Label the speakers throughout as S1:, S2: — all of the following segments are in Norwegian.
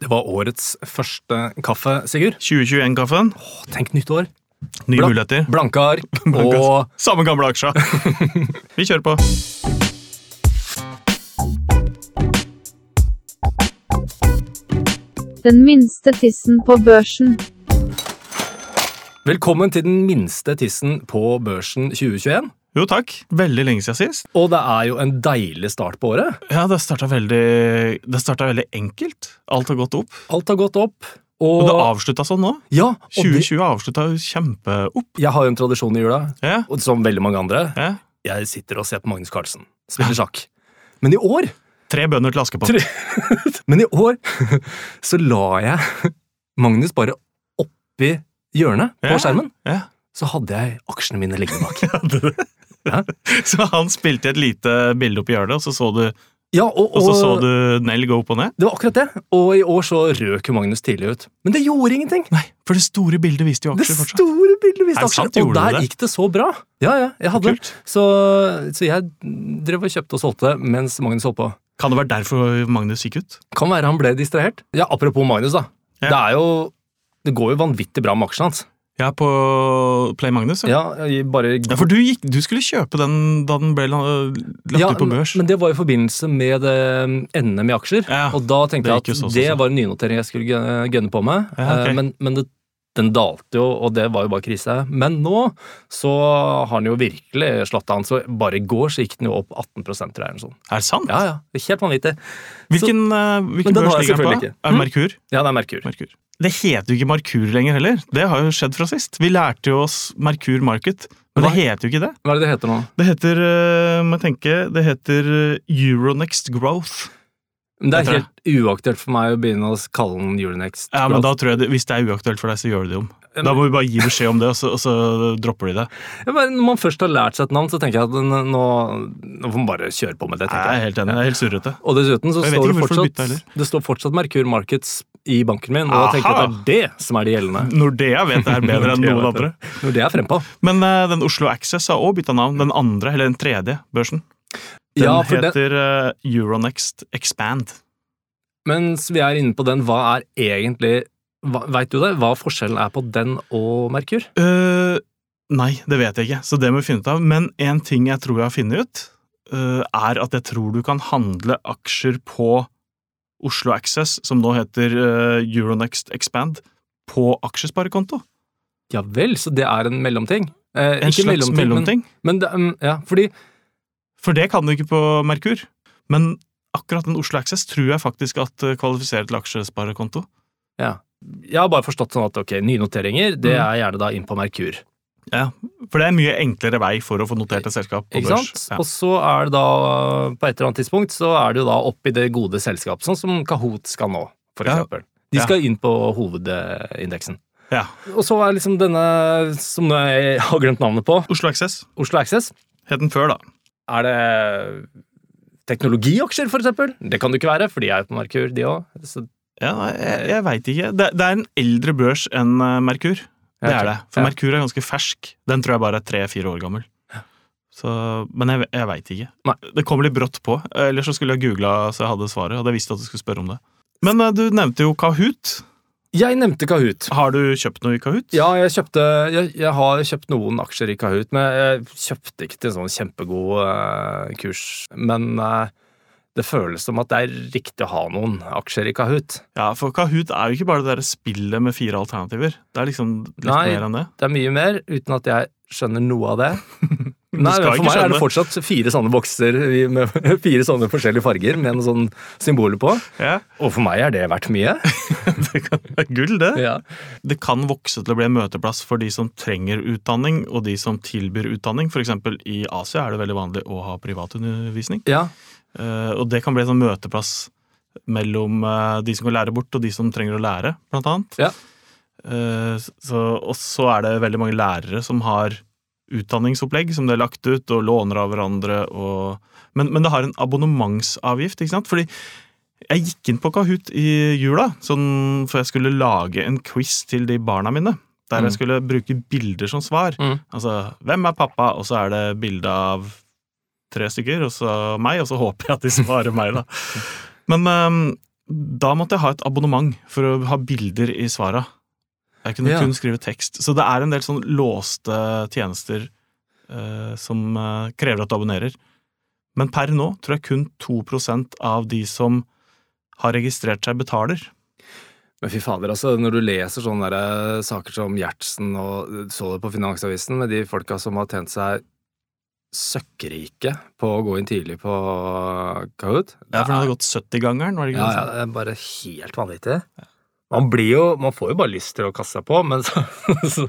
S1: Det var årets første kaffe, Sigurd.
S2: 2021-kaffen.
S1: Åh, Tenk nytt år.
S2: Nye
S1: Bra.
S2: muligheter.
S1: Blanke ark og
S2: Samme gamle aksja. Vi kjører på.
S3: Den minste tissen på børsen.
S1: Velkommen til den minste tissen på børsen 2021.
S2: Jo takk. Veldig lenge siden sist.
S1: Og det er jo en deilig start på året.
S2: Ja, det starta veldig, det starta veldig enkelt. Alt har gått opp.
S1: Alt har gått opp.
S2: Og
S1: Og,
S2: det avslutta sånn nå.
S1: ja, og det,
S2: 2020 avslutta jo kjempeopp.
S1: jeg har jo en tradisjon i jula,
S2: Ja,
S1: og som veldig mange andre.
S2: ja.
S1: Jeg sitter og ser på Magnus Carlsen spille sjakk. Men i år
S2: Tre bønder til Askepott.
S1: Tre- Men i år så la jeg Magnus bare oppi hjørnet på
S2: Ja.
S1: skjermen.
S2: Ja.
S1: Så hadde jeg aksjene mine liggende bak. Hæ?
S2: Så han spilte et lite bilde opp i hjørnet, og så så du,
S1: Ja, og,
S2: og så, så
S1: og
S2: du Nell gå opp og ned.
S1: det var akkurat det. Og i år så røk jo Magnus tidlig ut. Men det gjorde ingenting!
S2: Nei, for det store bildet viste jo
S1: Det
S2: aksjer fortsatt.
S1: store bildet
S2: Er
S1: viste
S2: det sant?
S1: aksjer, og
S2: Gjorde du
S1: der
S2: det?
S1: gikk det så bra. Ja, ja, jeg hadde
S2: Kult.
S1: så, så jeg drev og kjøpte og solgte mens Magnus holdt på.
S2: Kan det være derfor Magnus gikk ut?
S1: Kan være han ble distrahert. Ja, apropos Magnus, da.
S2: Ja.
S1: Det er jo Det går jo vanvittig bra med aksjene hans.
S2: Ja, på Play Magnus. Ja.
S1: Ja, i- bare
S2: Ja, for du, gikk, du skulle kjøpe den da den ble la- lagt
S1: Ja,
S2: ut på børs.
S1: Men det var i forbindelse med det, NM i aksjer.
S2: Ja,
S1: og da tenkte jeg
S2: det gikk
S1: at
S2: jo så, så,
S1: det
S2: så.
S1: var en nynotering jeg skulle gun- gunne på med.
S2: Ja, ok.
S1: Eh, Men, men det, den dalte jo, og det var jo bare krise. Men nå så har den jo virkelig slått an. Så bare i går så gikk den jo opp 18 eller noe sånt.
S2: Er det sant?
S1: Ja, ja. det er Helt vanvittig.
S2: Hvilken, eh,
S1: Men
S2: hvilken
S1: den
S2: børs
S1: har jeg
S2: ligger den på?
S1: selvfølgelig ikke. Hm?
S2: Er det Merkur?
S1: Ja, det er Merkur.
S2: Merkur. Det heter jo ikke Merkur lenger heller. Det har jo skjedd fra sist. Vi lærte jo oss Merkur Market, men
S1: Hva?
S2: det heter jo ikke det.
S1: Hva er det det heter nå?
S2: Det heter, eh, må jeg tenke, det heter eh, Euronext Growth.
S1: Men Det
S2: Heter
S1: er helt uaktuelt for meg å begynne å kalle den Euronext.
S2: Ja, men da tror jeg det, Hvis det er uaktuelt for deg, så gjør du det om. Da må vi bare gi beskjed om det, og så, og så dropper de det.
S1: Ja, men Når man først har lært seg et navn, så tenker jeg at den, nå, nå får man bare kjøre på med det. tenker
S2: Nei,
S1: jeg.
S2: Jeg er helt enig. Jeg er helt surrete.
S1: Og dessuten så
S2: Jeg
S1: står det
S2: vet ikke hvorfor du bytta
S1: fortsatt,
S2: heller.
S1: det står fortsatt Merkur Markets i banken min, og
S2: Aha!
S1: jeg tenker at det er det som er det gjeldende.
S2: Nordea vet det er bedre enn
S1: Nordea
S2: noen
S1: vet det.
S2: andre.
S1: Når det er frempå.
S2: Men eh, den Oslo Access har òg bytta navn. Den andre, eller den tredje børsen. Den
S1: Ja, for den,
S2: heter eh, Euronext Expand.
S1: mens vi er inne på den, hva er egentlig hva- Vet du det? Hva forskjellen er på den og Merkur?
S2: Eh, nei, det vet jeg ikke, så det må vi finne ut av. Men én ting jeg tror jeg har funnet ut, eh, er at jeg tror du kan handle aksjer på Oslo Access, som nå heter eh, Euronext Expand, på aksjesparekonto.
S1: Ja vel, så det er en mellomting? Eh,
S2: En
S1: ikke
S2: slags mellomting.
S1: Men, men det, mm, ja, fordi
S2: For det kan du ikke på Merkur. Men akkurat den Oslo Access tror jeg faktisk at eh, kvalifiserer til aksjesparekonto.
S1: ja, Jeg har bare forstått sånn at ok, nynoteringer det
S2: Mm.
S1: er gjerne da inn på Merkur.
S2: Ja, For det er en mye enklere vei for å få notert et selskap på
S1: Ikke
S2: børs.
S1: sant?
S2: Ja.
S1: Og så er det da, på et eller annet tidspunkt, så er det jo da opp i det gode selskap, sånn som Kahoot skal nå, for
S2: Ja.
S1: eksempel. De
S2: Ja.
S1: skal inn på hovedindeksen.
S2: Ja.
S1: Og så er liksom denne, som jeg har glemt navnet på,
S2: Oslo Access
S1: Oslo Access.
S2: het den før, da.
S1: Er det teknologiaksjer, for eksempel? Det kan det ikke være, for de er jo på Merkur, de òg.
S2: Ja, nei, jeg jeg veit ikke. Det, det er en eldre børs enn eh, Merkur. Det er det. For
S1: Ja.
S2: Merkur er ganske fersk. Den tror jeg bare er tre-fire år gammel. Så, men jeg, jeg veit ikke.
S1: Nei.
S2: Det kom litt brått på. Ellers så skulle jeg googla så jeg hadde svaret. Hadde jeg visst at du skulle spørre om det. Men eh, du nevnte jo Kahoot.
S1: Jeg nevnte Kahoot.
S2: Har du kjøpt noe i Kahoot?
S1: Ja, jeg kjøpte jeg, jeg har kjøpt noen aksjer i Kahoot, men jeg kjøpte ikke til en sånn kjempegod eh, kurs. Men eh, det føles som at det er riktig å ha noen aksjer i Kahoot.
S2: Ja, For Kahoot er jo ikke bare det der spillet med fire alternativer. Det er liksom litt
S1: Nei.
S2: mer enn det.
S1: Det er mye mer, uten at jeg skjønner noe av det.
S2: Du
S1: Nei, men
S2: skal
S1: For
S2: ikke
S1: meg er det
S2: skjønne.
S1: fortsatt fire sånne bokser i- med fire sånne forskjellige farger med noen sånn symboler på.
S2: Ja,
S1: Og for meg er det verdt mye.
S2: det kan være gull, det.
S1: Ja.
S2: Det kan vokse til å bli en møteplass for de som trenger utdanning, og de som tilbyr utdanning. For eksempel i Asia er det veldig vanlig å ha privatundervisning.
S1: ja.
S2: Eh, Og det kan bli en sånn møteplass mellom eh, de som kan lære bort, og de som trenger å lære, blant annet.
S1: Ja.
S2: Eh, Så, og så er det veldig mange lærere som har utdanningsopplegg som de har lagt ut, og låner av hverandre. Og, men, men det har en abonnementsavgift, ikke sant? Fordi jeg gikk inn på Kahoot i jula, sånn, for jeg skulle lage en quiz til de barna mine. Der
S1: Mm.
S2: jeg skulle bruke bilder som svar.
S1: Mm.
S2: Altså, hvem er pappa? Og så er det bilde av tre stykker, og så meg, og så håper jeg at de svarer meg, da. Men øhm, Da måtte jeg ha et abonnement for å ha bilder i svara. Jeg kunne
S1: Ja.
S2: kun skrive tekst. Så det er en del sånn låste tjenester eh, som eh, krever at du abonnerer. Men per nå tror jeg kun 2 av de som har registrert seg, betaler.
S1: Men fy fader, altså, når du leser sånne der, eh, saker som Gjertsen og eh, så det på Finansavisen, med de folka som har tjent seg søkkrike på å gå inn tidlig på eh, Kahoot
S2: Ja, for den hadde gått 70-gangeren, var det ikke
S1: Ja,
S2: det?
S1: ja, det er bare helt vanvittig. Man blir jo, man får jo bare lyst til å kaste seg på, men så, så,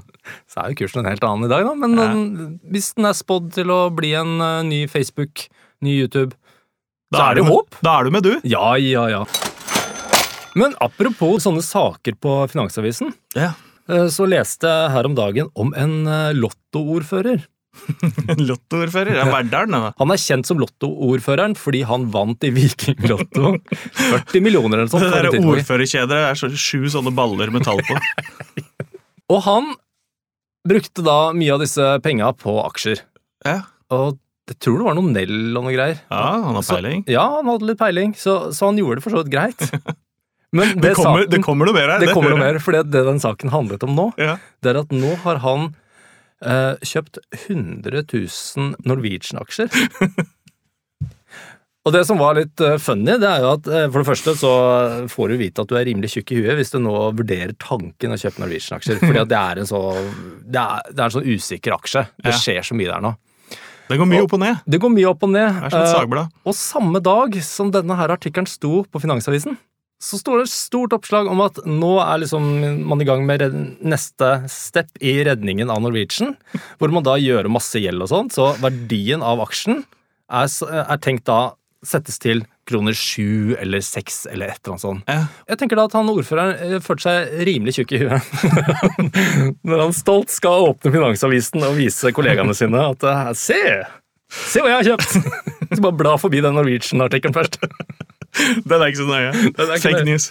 S1: så er jo kursen en helt annen i dag, da. Men
S2: Ja.
S1: den- hvis den er spådd til å bli en eh, ny Facebook, ny YouTube,
S2: Da
S1: så
S2: er
S1: er det
S2: du med-
S1: håp.
S2: Da er du med, du!
S1: Ja, ja, ja. Men apropos sånne saker på Finansavisen,
S2: Ja.
S1: eh, så leste jeg her om dagen om en eh, lottoordfører.
S2: Lottoordfører. Ja, Verdalen, den da.
S1: Han er kjent som lottoordføreren fordi han vant i Vikinglotto. 40 millioner eller noe sånt.
S2: Det
S1: for et
S2: der
S1: tidspunkt.
S2: ordførerkjedet er så, sju sånne baller med tall på.
S1: Og han brukte da mye av disse penga på aksjer.
S2: Ja,
S1: Og jeg tror det var noe Nell og noe greier.
S2: ja han har peiling.
S1: Ja, han hadde litt peiling, så, så han gjorde det for så vidt greit. Men det,
S2: Det kommer,
S1: saken,
S2: det kommer noe mer her.
S1: det kommer noe
S2: hører jeg.
S1: mer, for det, det den saken handlet om nå,
S2: Ja.
S1: det er at nå har han eh, kjøpt 100 000 Norwegian-aksjer. Og det som var litt eh, funny, det er jo at eh, for det første så får du vite at du er rimelig tjukk i huet hvis du nå vurderer tanken å kjøpe Norwegian-aksjer, fordi at det er en så det er, det er en sånn usikker aksje.
S2: Ja.
S1: Det skjer så mye der nå.
S2: Det går mye opp og ned.
S1: Det går mye opp og ned.
S2: Det er som et
S1: eh,
S2: sagblad.
S1: og samme dag som denne her artikkelen sto på Finansavisen, så står det et stort oppslag om at nå er liksom man i gang med red- neste step i redningen av Norwegian, hvor man da gjør om masse gjeld og sånt, så verdien av aksjen er, s- er tenkt da settes til kroner sju eller seks eller et eller annet sånt.
S2: Ja.
S1: Jeg tenker da at han ordføreren eh, følte seg rimelig tjukk i huet når han stolt skal åpne Finansavisen og vise kollegaene sine at eh, se, se hva jeg har kjøpt! Så bare bla forbi den Norwegian-artikkelen først.
S2: Den er ikke så
S1: er
S2: nøye.
S1: ikke
S2: Fake
S1: nøye.
S2: news.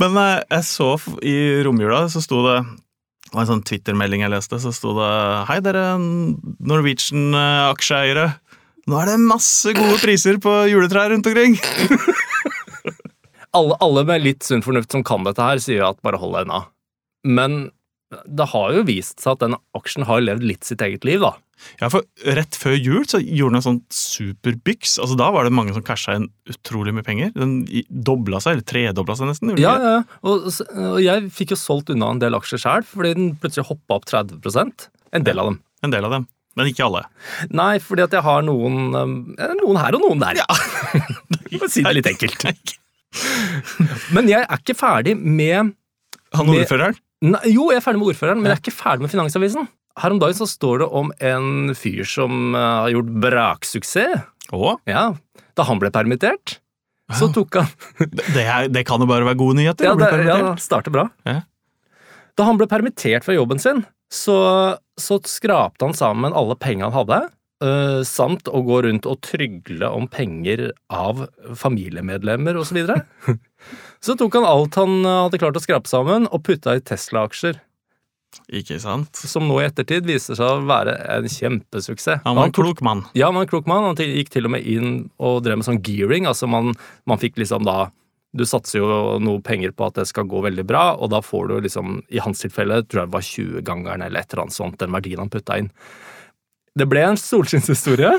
S2: Men eh, jeg så f- i romjula, så sto det det var en sånn Twitter-melding jeg leste, så sto det Hei dere Norwegian-aksjeeiere. Nå er det masse gode priser på juletrær rundt omkring!
S1: Alle, alle med litt sunn fornuft som kan dette her, sier jo at bare hold deg unna. Men det har jo vist seg at den aksjen har levd litt sitt eget liv, da.
S2: Ja, for Rett før jul så gjorde den en sånn superbyks. Altså, da var det mange som casha inn utrolig mye penger. Den i- dobla seg, eller tredobla seg nesten. gjorde den
S1: Ja,
S2: ikke?
S1: ja, ja. Og, og jeg fikk jo solgt unna en del aksjer sjøl, fordi den plutselig hoppa opp 30 En del av dem.
S2: En del av dem. Men ikke alle.
S1: Nei, fordi at jeg har noen eh, Noen her og noen der. For å si det litt enkelt. Men jeg er ikke ferdig med
S2: Han
S1: Med-
S2: ordføreren?
S1: Nei, Jo, jeg er ferdig med ordføreren, men jeg er ikke ferdig med Finansavisen. Her om dagen så står det om en fyr som eh, har gjort braksuksess.
S2: Å,
S1: Ja, Da han ble permittert, så tok han
S2: det, er, det kan jo bare være gode nyheter.
S1: Ja,
S2: å bli
S1: det, ja
S2: permittert.
S1: starter bra.
S2: Ja.
S1: Da han ble permittert fra jobben sin, så, så skrapte han sammen alle pengene han hadde, øh, samt å gå rundt og trygle om penger av familiemedlemmer osv. Så, videre. så tok han alt han øh, hadde klart å skrape sammen, og putta i Tesla-aksjer,
S2: Ikke sant?
S1: som nå i ettertid viser seg å være en kjempesuksess.
S2: Han var en klok mann.
S1: Ja, han var en klok mann. Han til- gikk til og med inn og drev med sånn gearing. Altså man, man fikk liksom da Du satser jo noe penger på at det skal gå veldig bra, og da får du liksom, i hans tilfelle, tror jeg det var 20-gangeren eller et eller annet sånt, den verdien han putta inn. Det ble en solskinnshistorie.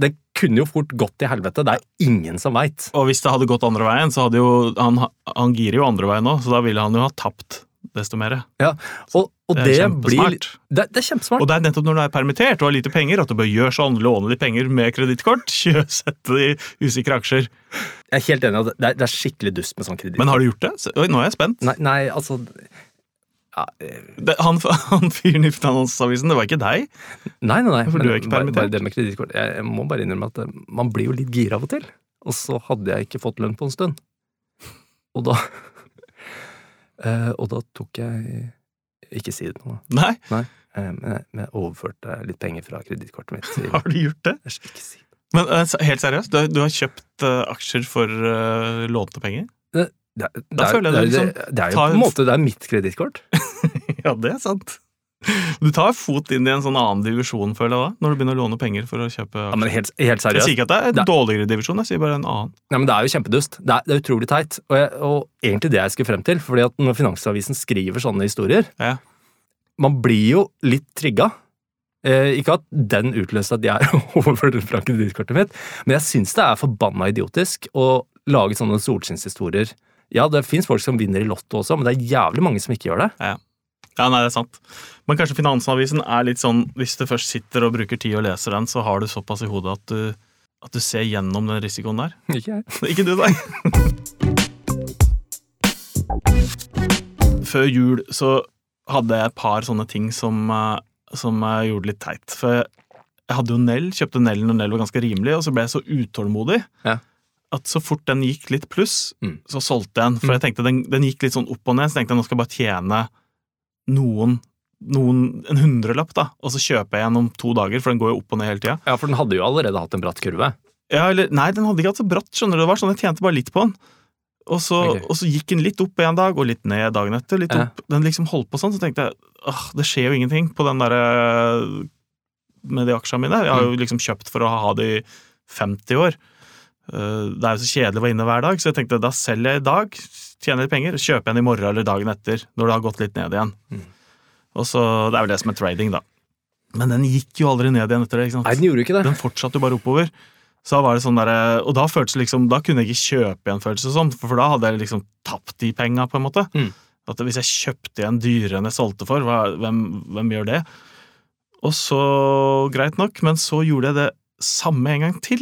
S1: Det kunne jo fort gått til helvete. Det er ingen som veit.
S2: Og hvis det hadde gått andre veien, så hadde jo Han, han girer jo andre veien nå, så da ville han jo ha tapt desto mer.
S1: Ja. Og, og det, blir
S2: kjempesmart.
S1: det, det er
S2: Og
S1: kjempesmart.
S2: det er nettopp når du er permittert og har lite penger, at du bør gjøre sånn. Låne litt penger med kredittkort, kjøpsette de usikre aksjer.
S1: Jeg er helt enig. i at Det er, det er skikkelig dust med sånn kreditt.
S2: Men har du gjort det? Så- Oi, nå er jeg spent.
S1: Nei, nei, altså ja, eh,
S2: Det, han han fyren i Finansavisen, det var ikke deg?
S1: Nei, nei, nei.
S2: For
S1: men
S2: du er ikke
S1: bare- Bare
S2: permittert?
S1: det med kredittkort. Jeg, jeg må bare innrømme at eh, man blir jo litt gira av og til. Og så hadde jeg ikke fått lønn på en stund. Og da eh, Og da tok jeg Ikke si det nå, da.
S2: Nei,
S1: Eh, Men jeg- men jeg overførte litt penger fra kredittkortet mitt til
S2: har du gjort det?
S1: Jeg skal ikke si det.
S2: Men eh, se- helt seriøst, du, har- du har kjøpt eh, aksjer for eh, lånte penger?
S1: Det er- det
S2: Da
S1: er-
S2: føler jeg det
S1: det er- det er jo
S2: tar
S1: på en
S2: en-
S1: måte det er mitt kredittkort.
S2: Ja, det er sant. Du tar fot inn i en sånn annen divisjon, føler jeg da, når du begynner å låne penger for å kjøpe
S1: Ja, men helt, helt
S2: Jeg
S1: seriøst.
S2: sier ikke at det er en
S1: Det-
S2: dårligere divisjon, jeg sier bare en annen.
S1: Nei, men Det er jo kjempedust. Det er, det er utrolig teit. Og, jeg, og egentlig det jeg skulle frem til, fordi at når Finansavisen skriver sånne historier
S2: Ja.
S1: Man blir jo litt trigga. Eh, ikke at den utløste at jeg overførte fra kredittkortet mitt, men jeg syns det er forbanna idiotisk å lage sånne solskinnshistorier. Ja, det fins folk som vinner i Lotto også, men det er jævlig mange som ikke gjør det.
S2: Ja, nei, det er sant. Men kanskje Finansavisen er litt sånn hvis du først sitter og bruker tid og leser den, så har du såpass i hodet at du, at du ser gjennom den risikoen der.
S1: Ikke jeg.
S2: Ikke du, nei. Før jul så hadde jeg et par sånne ting som, eh, som jeg gjorde litt teit. For jeg jeg hadde jo Nell, kjøpte Nell når Nell var ganske rimelig, og så ble jeg så utålmodig
S1: Ja.
S2: at så fort den gikk litt pluss,
S1: Mm.
S2: så solgte jeg den. For jeg tenkte den, den gikk litt sånn opp og ned, så tenkte jeg nå skal jeg bare tjene noen, noen en hundrelapp, da. Og så kjøper jeg igjen om to dager, for den går jo opp og ned hele tida.
S1: Ja, for den hadde jo allerede hatt en bratt kurve.
S2: Ja, eller, nei, den hadde ikke hatt så bratt, skjønner du. Det var sånn, Jeg tjente bare litt på den. Og så,
S1: Ok.
S2: og så gikk den litt opp en dag, og litt ned dagen etter. litt
S1: Ja.
S2: opp. Den liksom holdt på sånn, så tenkte jeg «Åh, det skjer jo ingenting på den der, eh, med de aksjene mine. Jeg har
S1: Mm.
S2: jo liksom kjøpt for å ha de 50 år. Eh, Det er jo så kjedelig å være inne hver dag, så jeg tenkte da selger jeg i dag, tjener litt penger, kjøper igjen i morgen eller dagen etter, når det har gått litt ned igjen.
S1: Mm.
S2: Og så, Det er vel det som er trading, da. Men den gikk jo aldri ned igjen etter det. ikke sant?
S1: Nei, den gjorde ikke det.
S2: Den fortsatte jo bare oppover. Så da var det sånn der, Og da føltes det liksom, da kunne jeg ikke kjøpe igjen, følelse sånn, for for da hadde jeg liksom tapt de penga, på en måte.
S1: Mm.
S2: At Hvis jeg kjøpte igjen dyrere enn jeg solgte for, hva, hvem, hvem gjør det? Og så, greit nok, men så gjorde jeg det samme en gang til.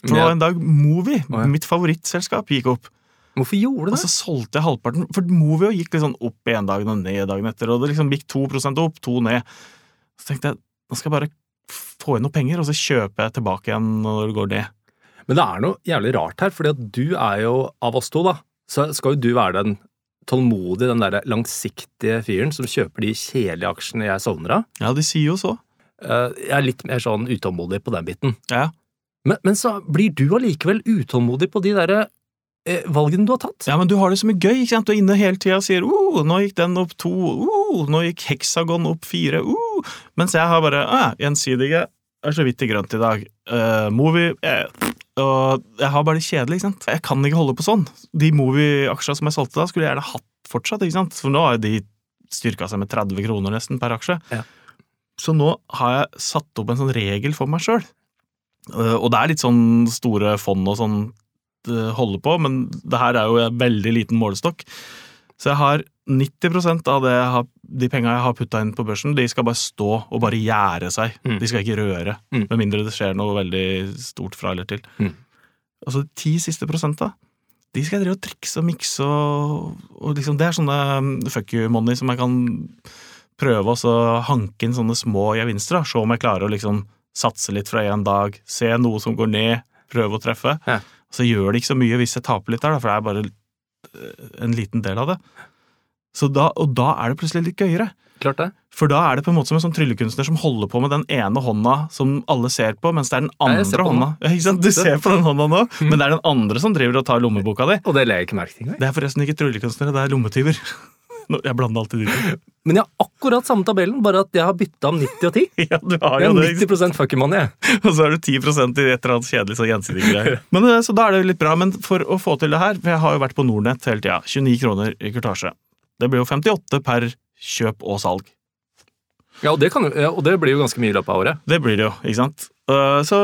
S2: For det var en dag Movi,
S1: Å, ja.
S2: mitt favorittselskap, gikk opp.
S1: Hvorfor gjorde
S2: Og
S1: du det?
S2: så solgte jeg halvparten, for Movio gikk litt sånn opp en dag og ned dagen etter, og det liksom gikk 2 opp, 2 ned. Så tenkte jeg, nå skal jeg bare få inn noen penger, og så kjøper jeg tilbake igjen når det går ned.
S1: Men det er noe jævlig rart her, fordi at du er jo, av oss to, da, så skal jo du være den tålmodige, den derre langsiktige fyren som kjøper de kjedelige aksjene jeg sovner av.
S2: Ja, de sier jo så.
S1: Eh, Jeg er litt mer sånn utålmodig på den biten.
S2: Ja.
S1: Men, men så blir du allikevel utålmodig på de derre eh, valgene du har tatt.
S2: Ja, men du har det så mye gøy, ikke sant? Du er inne hele tida og sier oh, 'nå gikk den opp to', oh, 'nå gikk heksagon opp fire', oh. mens jeg har bare ah, 'gjensidige', er så vidt i grønt i dag. Eh, movie eh. Og jeg har bare det kjedelig, ikke sant. Jeg kan ikke holde på sånn. De Movi-aksja som jeg solgte da, skulle jeg gjerne hatt fortsatt, ikke sant. For nå har jo de styrka seg med 30 kroner nesten per aksje.
S1: Ja.
S2: Så nå har jeg satt opp en sånn regel for meg sjøl. Og det er litt sånn store fond og sånn eh, holde på, men det her er jo en veldig liten målestokk. Så jeg har 90 av det jeg har, de penga jeg har putta inn på børsen, de skal bare stå og bare gjære seg.
S1: Mm.
S2: De skal ikke røre,
S1: Mm.
S2: med mindre det skjer noe veldig stort fra eller til.
S1: Mm.
S2: Og så de ti siste prosenta, de skal jeg drive og trikse og mikse og, og liksom, Det er sånne mm, fuck you money som jeg kan prøve også å hanke inn sånne små gevinster. da. Se om jeg klarer å liksom satse litt fra én dag, se noe som går ned, prøve å treffe.
S1: Ja.
S2: Så gjør det ikke så mye hvis jeg taper litt der, da, for det er bare eh, en liten del av det. Så da, og da er det plutselig litt gøyere.
S1: Klart det.
S2: For da er det på en måte som en sånn tryllekunstner som holder på med den ene hånda som alle ser på, mens det er den
S1: Ja, jeg ser
S2: andre
S1: på den
S2: hånda. Ja, ikke sant? Du ser på den hånda nå,
S1: Mm.
S2: men det er den andre som driver og tar lommeboka di.
S1: Og det legger jeg ikke merke til engang.
S2: Det er forresten ikke tryllekunstnere, det er lommetyver. Nå, Jeg blander alltid de to.
S1: Men jeg har akkurat samme tabellen, bare at jeg har bytta om 90 og 10.
S2: Ja, du har
S1: Jeg
S2: jo
S1: har
S2: det. ikke sant?
S1: 90 fucking money, jeg.
S2: Og så er du 10 i et eller annet kjedelig sånn gjensidig greie. Men, eh, Så da er det jo litt bra. Men for å få til det her, for jeg har jo vært på Nordnett hele tida, 29 kroner i kurtasje. Det blir jo 58 per kjøp og salg.
S1: Ja, og det, kan, jo- ja, og det blir jo ganske mye i løpet av året.
S2: Det blir det jo, ikke sant. Eh, Så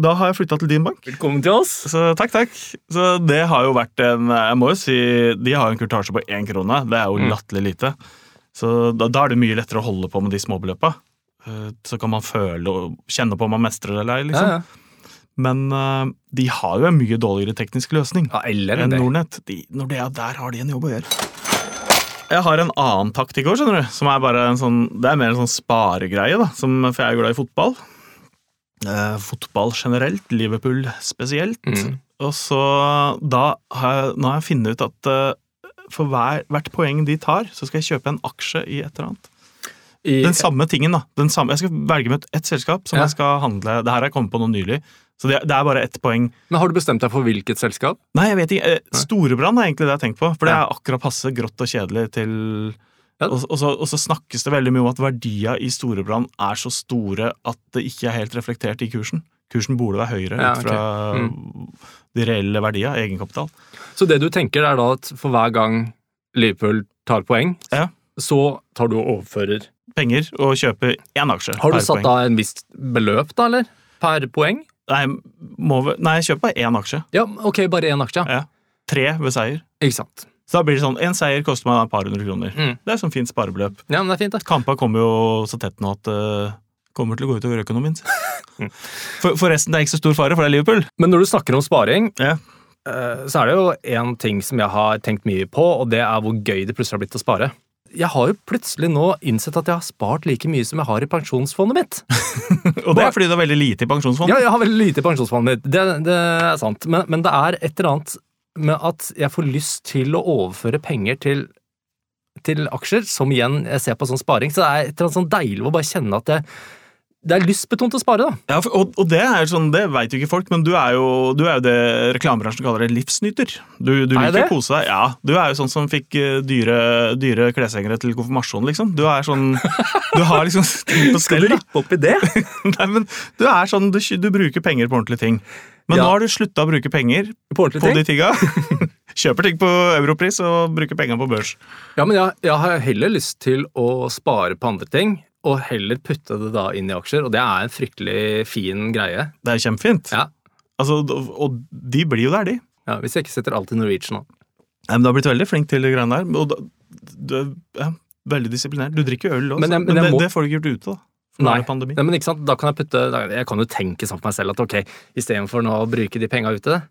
S2: da har jeg flytta til din bank.
S1: Velkommen til oss.
S2: Så takk, takk. Så det har jo vært en Jeg må jo si de har en kurtasje på én krone. Det er jo
S1: Mm.
S2: latterlig lite. Så da, da er det mye lettere å holde på med de småbeløpa. Eh, Så kan man føle og kjenne på om man mestrer det eller ei, liksom.
S1: Ja, ja.
S2: Men eh, de har jo en mye dårligere teknisk løsning
S1: ja, eller
S2: enn
S1: en del.
S2: Nordnett. De, når de er der, har de en jobb å gjøre. Jeg har en annen taktikk òg, skjønner du. Som er bare en sånn, det er mer en sånn sparegreie, da. Som, for jeg er glad i fotball. Eh, fotball generelt, Liverpool spesielt.
S1: Mm.
S2: Og så da har jeg, nå har jeg funnet ut at eh, for hver, hvert poeng de tar, så skal jeg kjøpe en aksje i et eller annet.
S1: I,
S2: Den samme tingen, da. Den samme, jeg skal velge med ett selskap som
S1: Ja.
S2: jeg skal handle Det her har jeg kommet på noe nylig, så det, det er bare ett poeng.
S1: men har du bestemt deg for hvilket selskap?
S2: Nei, jeg vet ikke. Eh, Storebrann er egentlig det jeg har tenkt på. For det
S1: Ja.
S2: er akkurat passe grått og kjedelig til
S1: Ja.
S2: Og, og, så, og så snakkes det veldig mye om at verdiene i Storebrand er så store at det ikke er helt reflektert i kursen. Kursen burde være høyere
S1: Ja,
S2: ut fra
S1: ok. Mm.
S2: de reelle verdiene, egenkapital.
S1: Så det du tenker, er da at for hver gang Liverpool tar poeng,
S2: Ja.
S1: så tar du og overfører.
S2: Penger og kjøpe én aksje
S1: Har du
S2: per
S1: satt
S2: poeng.
S1: av en visst beløp, da, eller? Per poeng?
S2: Nei, må vi, nei, kjøp bare én aksje.
S1: Ja, ok, bare én aksje.
S2: Ja. Tre ved seier.
S1: Ikke sant.
S2: Så da blir det sånn, En seier koster meg et par hundre kroner.
S1: Mm.
S2: Det er sånn fint sparebeløp.
S1: Ja, men det er fint, det.
S2: Kampa kommer jo så tett nå at det kommer til å gå utover økonomien. For, forresten, det er ikke så stor fare, for det er Liverpool.
S1: Men når du snakker om sparing,
S2: Ja.
S1: eh, så er det jo én ting som jeg har tenkt mye på, og det er hvor gøy det plutselig har blitt å spare. Jeg har jo plutselig nå innsett at jeg har spart like mye som jeg har i pensjonsfondet mitt.
S2: Og det er fordi det er veldig lite i pensjonsfond.
S1: Ja, jeg har veldig lite i pensjonsfondet mitt, det, det er sant. Men, men det er et eller annet med at jeg får lyst til å overføre penger til, til aksjer, som igjen jeg ser på som sparing. Så det er et eller annet sånn deilig å bare kjenne at det, det er lystbetont å spare, da.
S2: Ja, for- og, og det er sånn, det vet jo ikke folk, men du er jo, du er jo det reklamebransjen kaller en livsnyter. Du, du
S1: Er jeg
S2: liker
S1: det?
S2: å kose deg. Ja, du er jo sånn som fikk eh, dyre, dyre kleshengere til konfirmasjon, liksom. Du er sånn, du har liksom ting på stell, da.
S1: opp i det?
S2: Nei, men du er sånn, du, du bruker penger på ordentlige ting. Men
S1: Ja.
S2: nå har du slutta å bruke penger
S1: På ordentlige ting?
S2: på de tinga. Kjøper ting på europris og bruker penger på børs.
S1: Ja, men jeg, jeg har heller lyst til å spare på andre ting, og heller putte det da inn i aksjer, og det er en fryktelig fin greie.
S2: Det er kjempefint.
S1: Ja.
S2: Altså, og- og de blir jo der, de.
S1: Ja, hvis jeg ikke setter alt i Norwegian, da.
S2: Nei, men Du har blitt veldig flink til de greiene der. Og da, du er ja, veldig disiplinert. Du drikker jo øl også,
S1: Men
S2: men,
S1: jeg- men jeg
S2: det,
S1: må-
S2: det får du ikke gjort ute. da. For nå
S1: Nei.
S2: er det pandemi.
S1: Nei, men ikke sant, da kan jeg putte da- Jeg kan jo tenke sånn på meg selv at ok, istedenfor nå å bruke de penga ute,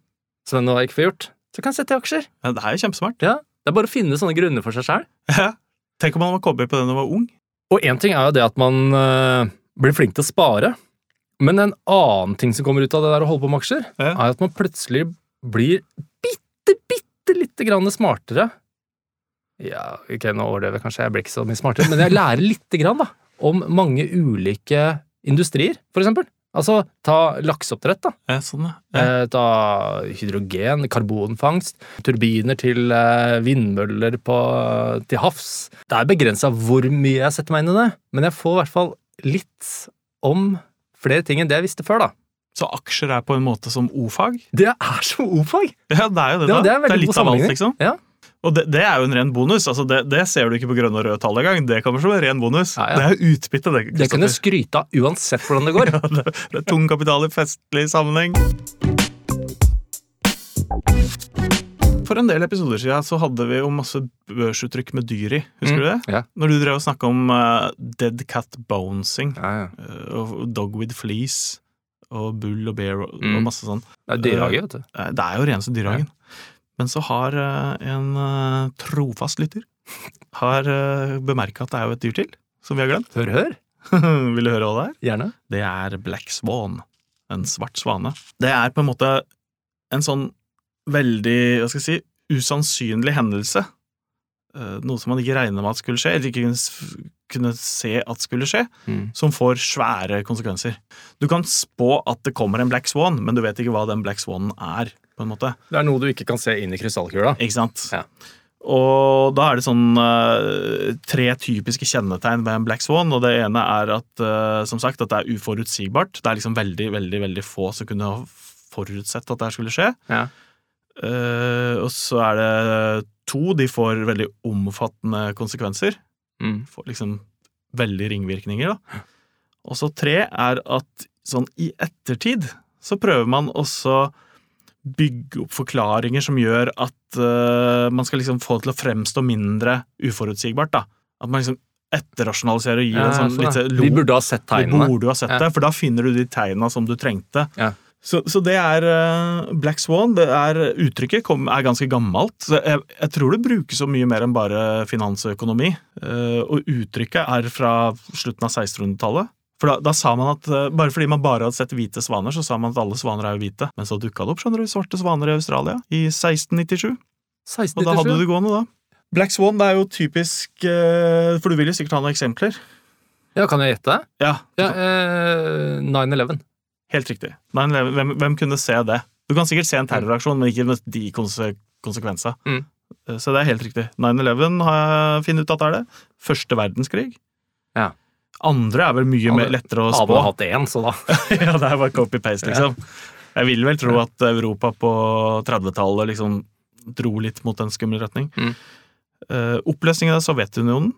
S1: som jeg nå ikke får gjort, så kan jeg sette i aksjer.
S2: Ja, det er jo kjempesmart.
S1: Ja, Det er bare å finne sånne grunner for seg sjæl.
S2: Ja. Tenk om han var kobber på den da han var ung.
S1: Og én ting er jo det at man øh, blir flink til å spare, men en annen ting som kommer ut av det der å holde på med aksjer,
S2: Ja.
S1: er at man plutselig blir bitte, bitte lite grann smartere. Ja, ok, nå overdøver jeg kanskje, jeg blir ikke så mye smartere, men jeg lærer lite grann da, om mange ulike industrier, for eksempel. Altså, ta lakseoppdrett da,
S2: Ja, sånn, ja. Ja.
S1: Eh, ta hydrogen, karbonfangst, turbiner til eh, vindmøller på, til havs. Det er begrensa hvor mye jeg setter meg inn i det, men jeg får i hvert fall litt om flere ting enn det jeg visste før, da.
S2: Så aksjer er på en måte som o-fag?
S1: Det er så o-fag!
S2: Ja, det er jo
S1: Ja,
S2: det, da.
S1: det er en veldig
S2: litt
S1: god
S2: av alt,
S1: sammenligning.
S2: liksom.
S1: Ja.
S2: Og det, det er jo en ren bonus. altså Det, det ser du ikke på grønne og røde tall engang. Det kommer som en ren bonus.
S1: Ja, ja.
S2: Det er jo utbytte, det.
S1: Det kan jeg
S2: Kristoffer.
S1: skryte av uansett hvordan det går.
S2: Ja, det, det er tung kapital i festlig sammenheng. For en del episoder siden så hadde vi jo masse børsuttrykk med dyr i. Husker du det?
S1: Mm. Ja.
S2: Når du drev og snakka om eh, dead cat bouncing
S1: Ja, ja.
S2: eh, og dog with fleece og bull og bear og,
S1: Mm.
S2: og masse sånn.
S1: Det er dyrehage, vet du.
S2: Eh, Det er jo reneste dyrehagen. Men så har eh, en eh, trofast lytter har bemerka at det er jo et dyr til som vi har glemt.
S1: Hør, hør.
S2: Vil du høre hva det er?
S1: Gjerne.
S2: det er Black Swan. En svart svane. Det er på en måte en sånn veldig, hva skal jeg si, usannsynlig hendelse. Eh, Noe som man ikke regner med at skulle skje, eller ikke kunne s- kunne se at skulle skje,
S1: Mm.
S2: som får svære konsekvenser. Du kan spå at det kommer en Black Swan, men du vet ikke hva den Black Swanen er, på en måte.
S1: Det er noe du ikke kan se inn i krystallkula.
S2: Ikke sant?
S1: Ja.
S2: Og da er det sånn eh, tre typiske kjennetegn ved en black swan. Og det ene er at eh, som sagt, at det er uforutsigbart. Det er liksom veldig veldig, veldig få som kunne ha forutsett at det her skulle skje.
S1: Ja.
S2: Eh, og så er det to. De får veldig omfattende konsekvenser.
S1: Mm.
S2: Får liksom veldig ringvirkninger. da. Og så tre er at sånn i ettertid så prøver man også bygge opp forklaringer som gjør at eh, man skal liksom få det til å fremstå mindre uforutsigbart. da. At man liksom etterrasjonaliserer og gir
S1: Ja,
S2: en sånn
S1: sånn,
S2: litt
S1: ja.
S2: sånn
S1: Vi burde ha sett
S2: Du
S1: tegnene.
S2: burde jo ha sett
S1: Ja.
S2: det, for da finner du de tegna som du trengte.
S1: Ja.
S2: Så, så det er eh, Black Swan. det er Uttrykket kom, er ganske gammelt. Så jeg, jeg tror det brukes så mye mer enn bare finansøkonomi. Eh, og uttrykket er fra slutten av 1600-tallet. For da, da sa man at eh, Bare fordi man bare hadde sett hvite svaner, så sa man at alle svaner er jo hvite. Men så dukka det opp skjønner du, svarte svaner i Australia i 1697. Og da hadde du
S1: 1697.
S2: det gående, da. Black Swan det er jo typisk eh, For du vil jo sikkert ha noen eksempler.
S1: Ja, kan jeg gjette?
S2: Ja,
S1: Ja, eh, 9-11.
S2: Helt riktig. Men hvem, hvem kunne se det? Du kan sikkert se en terroraksjon, men ikke med de konse konsekvensene.
S1: Mm.
S2: Eh, Så det er helt riktig. 9-11 har jeg funnet ut at det er det. Første verdenskrig.
S1: Ja.
S2: Andre er vel mye
S1: Ja,
S2: mer
S1: det-
S2: lettere å
S1: Hadde
S2: spå.
S1: man hatt én, så da.
S2: ja, det er bare copy-paste, liksom. Jeg vil vel tro at Europa på 30-tallet liksom dro litt mot en skummel retning.
S1: Mm.
S2: Eh, oppløsningen av Sovjetunionen,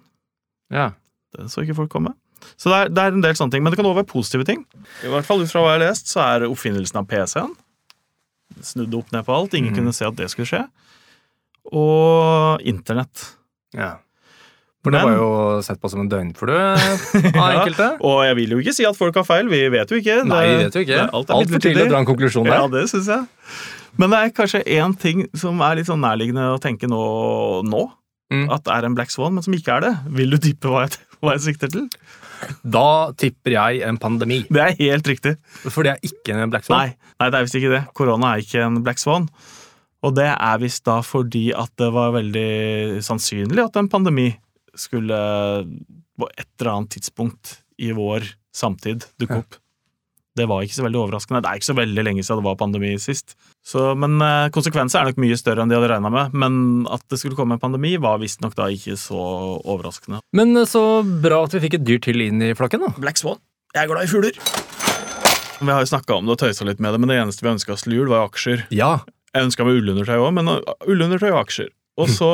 S1: Ja.
S2: den så ikke folk komme. Så det er, det er en del sånne ting, men det kan også være positive ting. I hvert fall ut fra hva jeg har lest, så er oppfinnelsen av PC-en snudd opp ned på alt. Ingen
S1: Mm.
S2: kunne se at det skulle skje. Og internett.
S1: ja. For det
S2: Men-
S1: var jo sett på som en døgnflue av
S2: Ja.
S1: enkelte.
S2: Og jeg vil jo ikke si at folk har feil, vi vet jo ikke.
S1: Nei, det vet du ikke.
S2: det- alt er
S1: Altfor
S2: litt
S1: tidlig
S2: tidlig.
S1: å dra en konklusjon
S2: Ja,
S1: der.
S2: det syns jeg. Men det er kanskje én ting som er litt sånn nærliggende å tenke nå, nå
S1: Mm.
S2: at det er en black swan, men som ikke er det. Vil du tippe hva jeg, hva jeg sikter til?
S1: Da tipper jeg en pandemi.
S2: Det er helt riktig.
S1: For det er ikke en black swan.
S2: Nei, nei det er visst ikke det. Korona er ikke en black swan. Og det er visst da fordi at det var veldig sannsynlig at en pandemi skulle på et eller annet tidspunkt i vår samtid dukke opp. Det var ikke så veldig overraskende. Det er ikke så veldig lenge siden det var pandemi sist. Så, men eh, konsekvenser er nok mye større enn de hadde regna med. Men at det skulle komme en pandemi, var visstnok da ikke så overraskende.
S1: Men eh, så bra at vi fikk et dyr til inn i flokken, da.
S2: Black Swan. Jeg er glad i fugler. Vi har jo snakka om det og tøysa litt med det, men det eneste vi ønska oss til jul, var jo aksjer.
S1: Ja.
S2: Jeg ønska meg ullundertøy òg, men uh, ullundertøy og aksjer. Og så,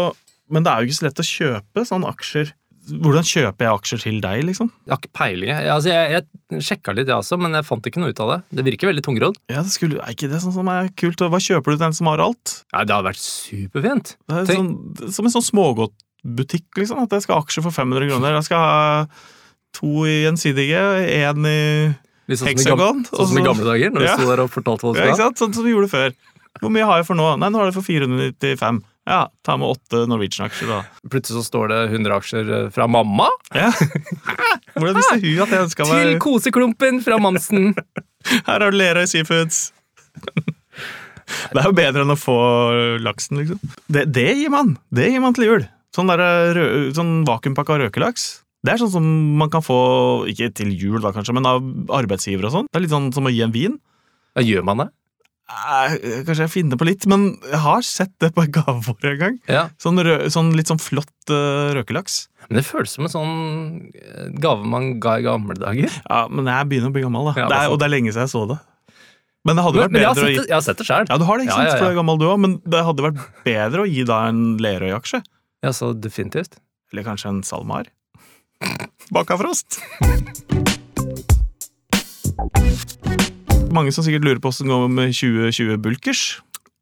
S2: men det er jo ikke så lett å kjøpe sånne aksjer. Hvordan kjøper jeg aksjer til deg, liksom?
S1: Jeg har ikke peiling. Jeg, altså, jeg, jeg sjekka litt, jeg også, men jeg fant ikke noe ut av det. Det virker veldig tungrodd.
S2: Ja, det skulle, Er ikke det sånn som er kult? Og Hva kjøper du til en som har alt?
S1: Nei, det hadde vært superfint.
S2: Det er sånn,
S1: Tenk-
S2: som en sånn smågodtbutikk, liksom. At jeg skal ha aksjer for 500 kroner. Jeg skal ha to i gjensidige, én i
S1: Litt sånn som i gamle,
S2: heksagon.
S1: sånn som i
S2: og så-
S1: gamle dager, når
S2: Ja.
S1: du sto der og fortalte hva du
S2: Ja, ikke
S1: skulle ha.
S2: sant? Sånn som vi gjorde før. Hvor mye har jeg for nå? Nei, nå er det for 495. Ja, ta med åtte Norwegian-aksjer, da.
S1: Plutselig så står det 100 aksjer eh, fra mamma
S2: Ja. Hvordan visste hun at jeg ønska
S1: til
S2: meg
S1: koseklumpen fra Mamsen.
S2: Her har du Lerøy Seafoods! Det er jo bedre enn å få laksen, liksom. Det, det gir man Det gir man til jul. Sånn, der, rø- sånn vakuumpakka røkelaks. Det er sånn som man kan få, ikke til jul da kanskje, men av arbeidsgiver og sånn. Det er litt sånn som å gi en vin.
S1: Ja, gjør man det?
S2: Eh, Kanskje jeg finner på litt, men jeg har sett det på et gavebord en gang.
S1: Ja.
S2: Sånn, rø sånn litt sånn flott eh, røkelaks.
S1: Men det føles som en sånn eh, gave man ga i gamle dager.
S2: Ja, Men jeg begynner å bli gammel, da.
S1: Ja, det er
S2: det er, og
S1: sant.
S2: det er lenge siden jeg så det. Men det hadde
S1: Men,
S2: vært
S1: men jeg har
S2: bedre å
S1: sett
S2: gi
S1: det, jeg har sett det sjøl.
S2: Ja, du har det, ikke
S1: Ja,
S2: sant?
S1: ja,
S2: For du
S1: ja.
S2: er gammel du òg, men det hadde vært bedre å gi da en Lerøy-aksje.
S1: Ja, så definitivt.
S2: Eller kanskje en SalMar. Baka frost. Mange som sikkert lurer på åssen det går med 2020 Bulkers.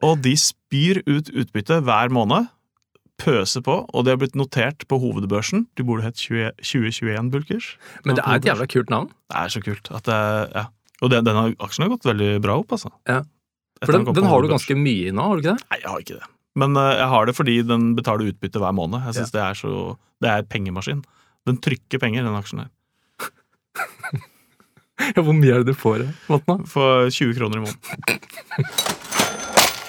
S2: Og de spyr ut utbytte hver måned. Pøser på, og det har blitt notert på hovedbørsen. De burde hett 20 2021 Bulkers.
S1: Men det er et jævla kult navn.
S2: Det er så kult. At det, ja. Og den, denne aksjen har gått veldig bra opp, altså.
S1: Ja.
S2: Etter
S1: For den,
S2: kom på
S1: den har du
S2: hovedbørsen.
S1: ganske mye i nå, har du ikke det?
S2: Nei, jeg har ikke det. Men eh, jeg har det fordi den betaler utbytte hver måned. Jeg synes Det er så, det er pengemaskin. Den trykker penger, den aksjen her.
S1: Ja, Hvor mye er det du får? eh, Vatna?
S2: For 20 kroner i måneden.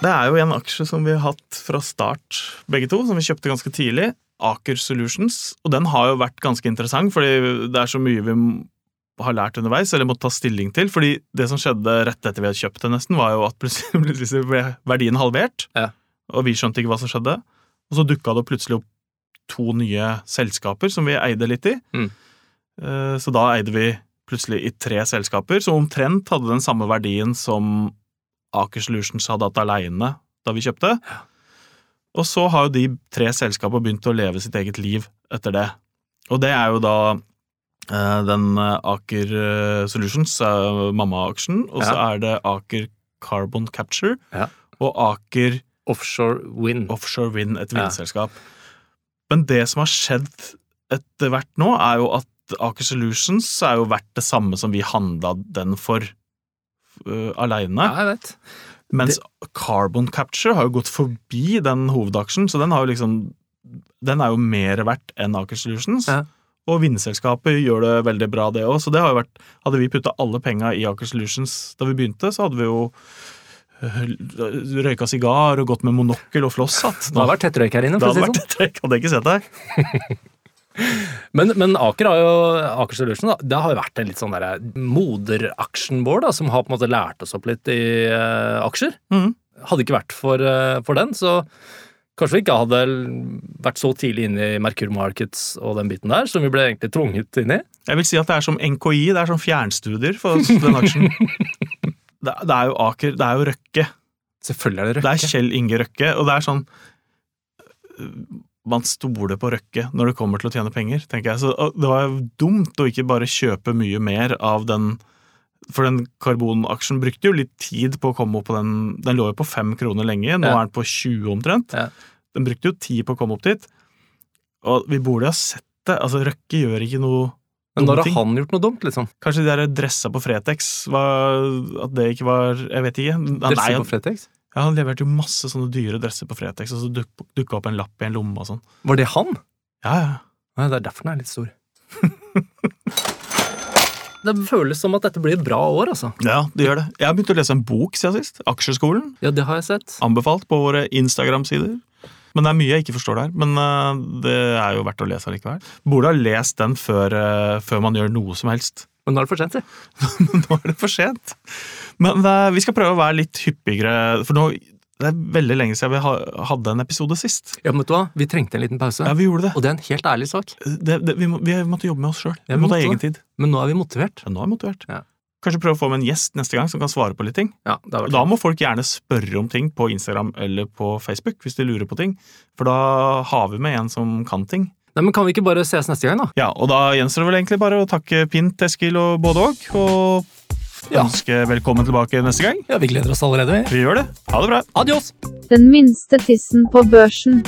S2: Det er jo en aksje som vi har hatt fra start, begge to, som vi kjøpte ganske tidlig. Aker Solutions. Og den har jo vært ganske interessant, fordi det er så mye vi m- har lært underveis, eller måtte ta stilling til. Fordi det som skjedde rett etter vi hadde kjøpt det, nesten, var jo at plutselig plutselig ble verdien halvert.
S1: Ja.
S2: Og vi skjønte ikke hva som skjedde. Og så dukka det plutselig opp to nye selskaper som vi eide litt i.
S1: Mm.
S2: Eh, Så da eide vi plutselig i tre selskaper, som omtrent hadde den samme verdien som Aker Solutions hadde hatt aleine da vi kjøpte. Og så har jo de tre selskapene begynt å leve sitt eget liv etter det. Og det er jo da eh, den eh, Aker eh, Solutions, eh, mamma-aksjen, og så
S1: Ja.
S2: er det Aker Carbon Capture
S1: Ja.
S2: og Aker
S1: Offshore wind.
S2: Offshore Wind, et
S1: Ja.
S2: vindselskap. Men det som har skjedd etter hvert nå, er jo at Aker Solutions er jo verdt det samme som vi handla den for uh,
S1: Ja,
S2: aleine.
S1: jeg vet.
S2: mens Carbon Capture har jo gått forbi den hovedaksjen, så den har jo liksom Den er jo mer verdt enn Aker Solutions.
S1: Ja.
S2: Og vindselskapet gjør det veldig bra, det òg. Så det har jo vært Hadde vi putta alle penga i Aker Solutions da vi begynte, så hadde vi jo øh, røyka sigar og gått med monokkel og flosshatt.
S1: Det har vært tettrøyk her inne.
S2: Det
S1: for å si
S2: hadde
S1: det sånn.
S2: vært et trekk, hadde jeg ikke sett deg.
S1: Men, men Aker har jo Aker Solution, da, det har jo vært en litt sånn derre moderaksjen vår, da, som har på en måte lært oss opp litt i eh, aksjer.
S2: Mhm.
S1: Hadde det ikke vært for, eh, for den, så kanskje vi ikke hadde vært så tidlig inne i Merkur Markets og den biten der, som vi ble egentlig tvunget inn i.
S2: Jeg vil si at det er som NKI, det er som fjernstudier for den aksjen. Det, det er jo Aker, det er jo Røkke.
S1: Selvfølgelig er det
S2: Det
S1: Røkke.
S2: er Kjell Inge Røkke, og det er sånn øh, Man stoler på Røkke når det kommer til å tjene penger, tenker jeg. Så øh, det var jo dumt å ikke bare kjøpe mye mer av den For den karbonaksjen brukte jo litt tid på å komme opp på den. Den lå jo på fem kroner lenge, nå
S1: Ja.
S2: er den på 20 omtrent.
S1: Ja.
S2: Den brukte jo tid på å komme opp dit. Og vi burde jo ha sett det. Altså, Røkke gjør ikke noe
S1: Men når
S2: dumme ting.
S1: har han gjort noe dumt, liksom?
S2: Kanskje de der dressa på Fretex var, At det ikke var Jeg vet ikke. Nei,
S1: Dresser
S2: han,
S1: på Fretex?
S2: ja, han leverte jo masse sånne dyre dresser på Fretex, og så duk- dukka opp en lapp i en lomme og sånn.
S1: Var det han?
S2: Ja, ja.
S1: Nei, det er derfor den er litt stor. det føles som at dette blir et bra år, altså.
S2: Ja, det gjør det. Jeg har begynt å lese en bok siden sist. Aksjeskolen.
S1: Ja, det har jeg sett.
S2: Anbefalt på våre Instagram-sider. Men det er mye jeg ikke forstår der. Men eh, det er jo verdt å lese allikevel. Burde ha lest den før, eh, før man gjør noe som helst.
S1: Men nå er det for sent, si.
S2: nå er det for sent. Men eh, vi skal prøve å være litt hyppigere, for nå det er veldig lenge siden vi ha- hadde en episode sist.
S1: Ja, men vet du hva? Vi trengte en liten pause.
S2: Ja, vi gjorde det.
S1: Og det er en helt ærlig sak.
S2: det, det, vi, må, vi måtte jobbe med oss sjøl.
S1: Ja,
S2: Vi
S1: vi
S2: måtte ha
S1: måtte
S2: egen tid.
S1: Men nå er vi motivert.
S2: Ja, nå er jeg motivert.
S1: Ja.
S2: Kanskje prøve å få med en gjest neste gang som kan svare på litt ting.
S1: Ja, det har
S2: Og
S1: vært
S2: Da må folk gjerne spørre om ting på Instagram eller på Facebook hvis de lurer på ting. For da har vi med en som kan ting.
S1: Nei, men Kan vi ikke bare ses neste gang, da?
S2: Ja, og da gjenstår det vel egentlig bare å takke Pint, Eskil og både og. Og
S1: Ja.
S2: ønske velkommen tilbake neste gang.
S1: Ja, Vi gleder oss allerede. vi.
S2: Vi gjør det. Ha det bra.
S1: Adios!
S3: Den minste tissen på børsen.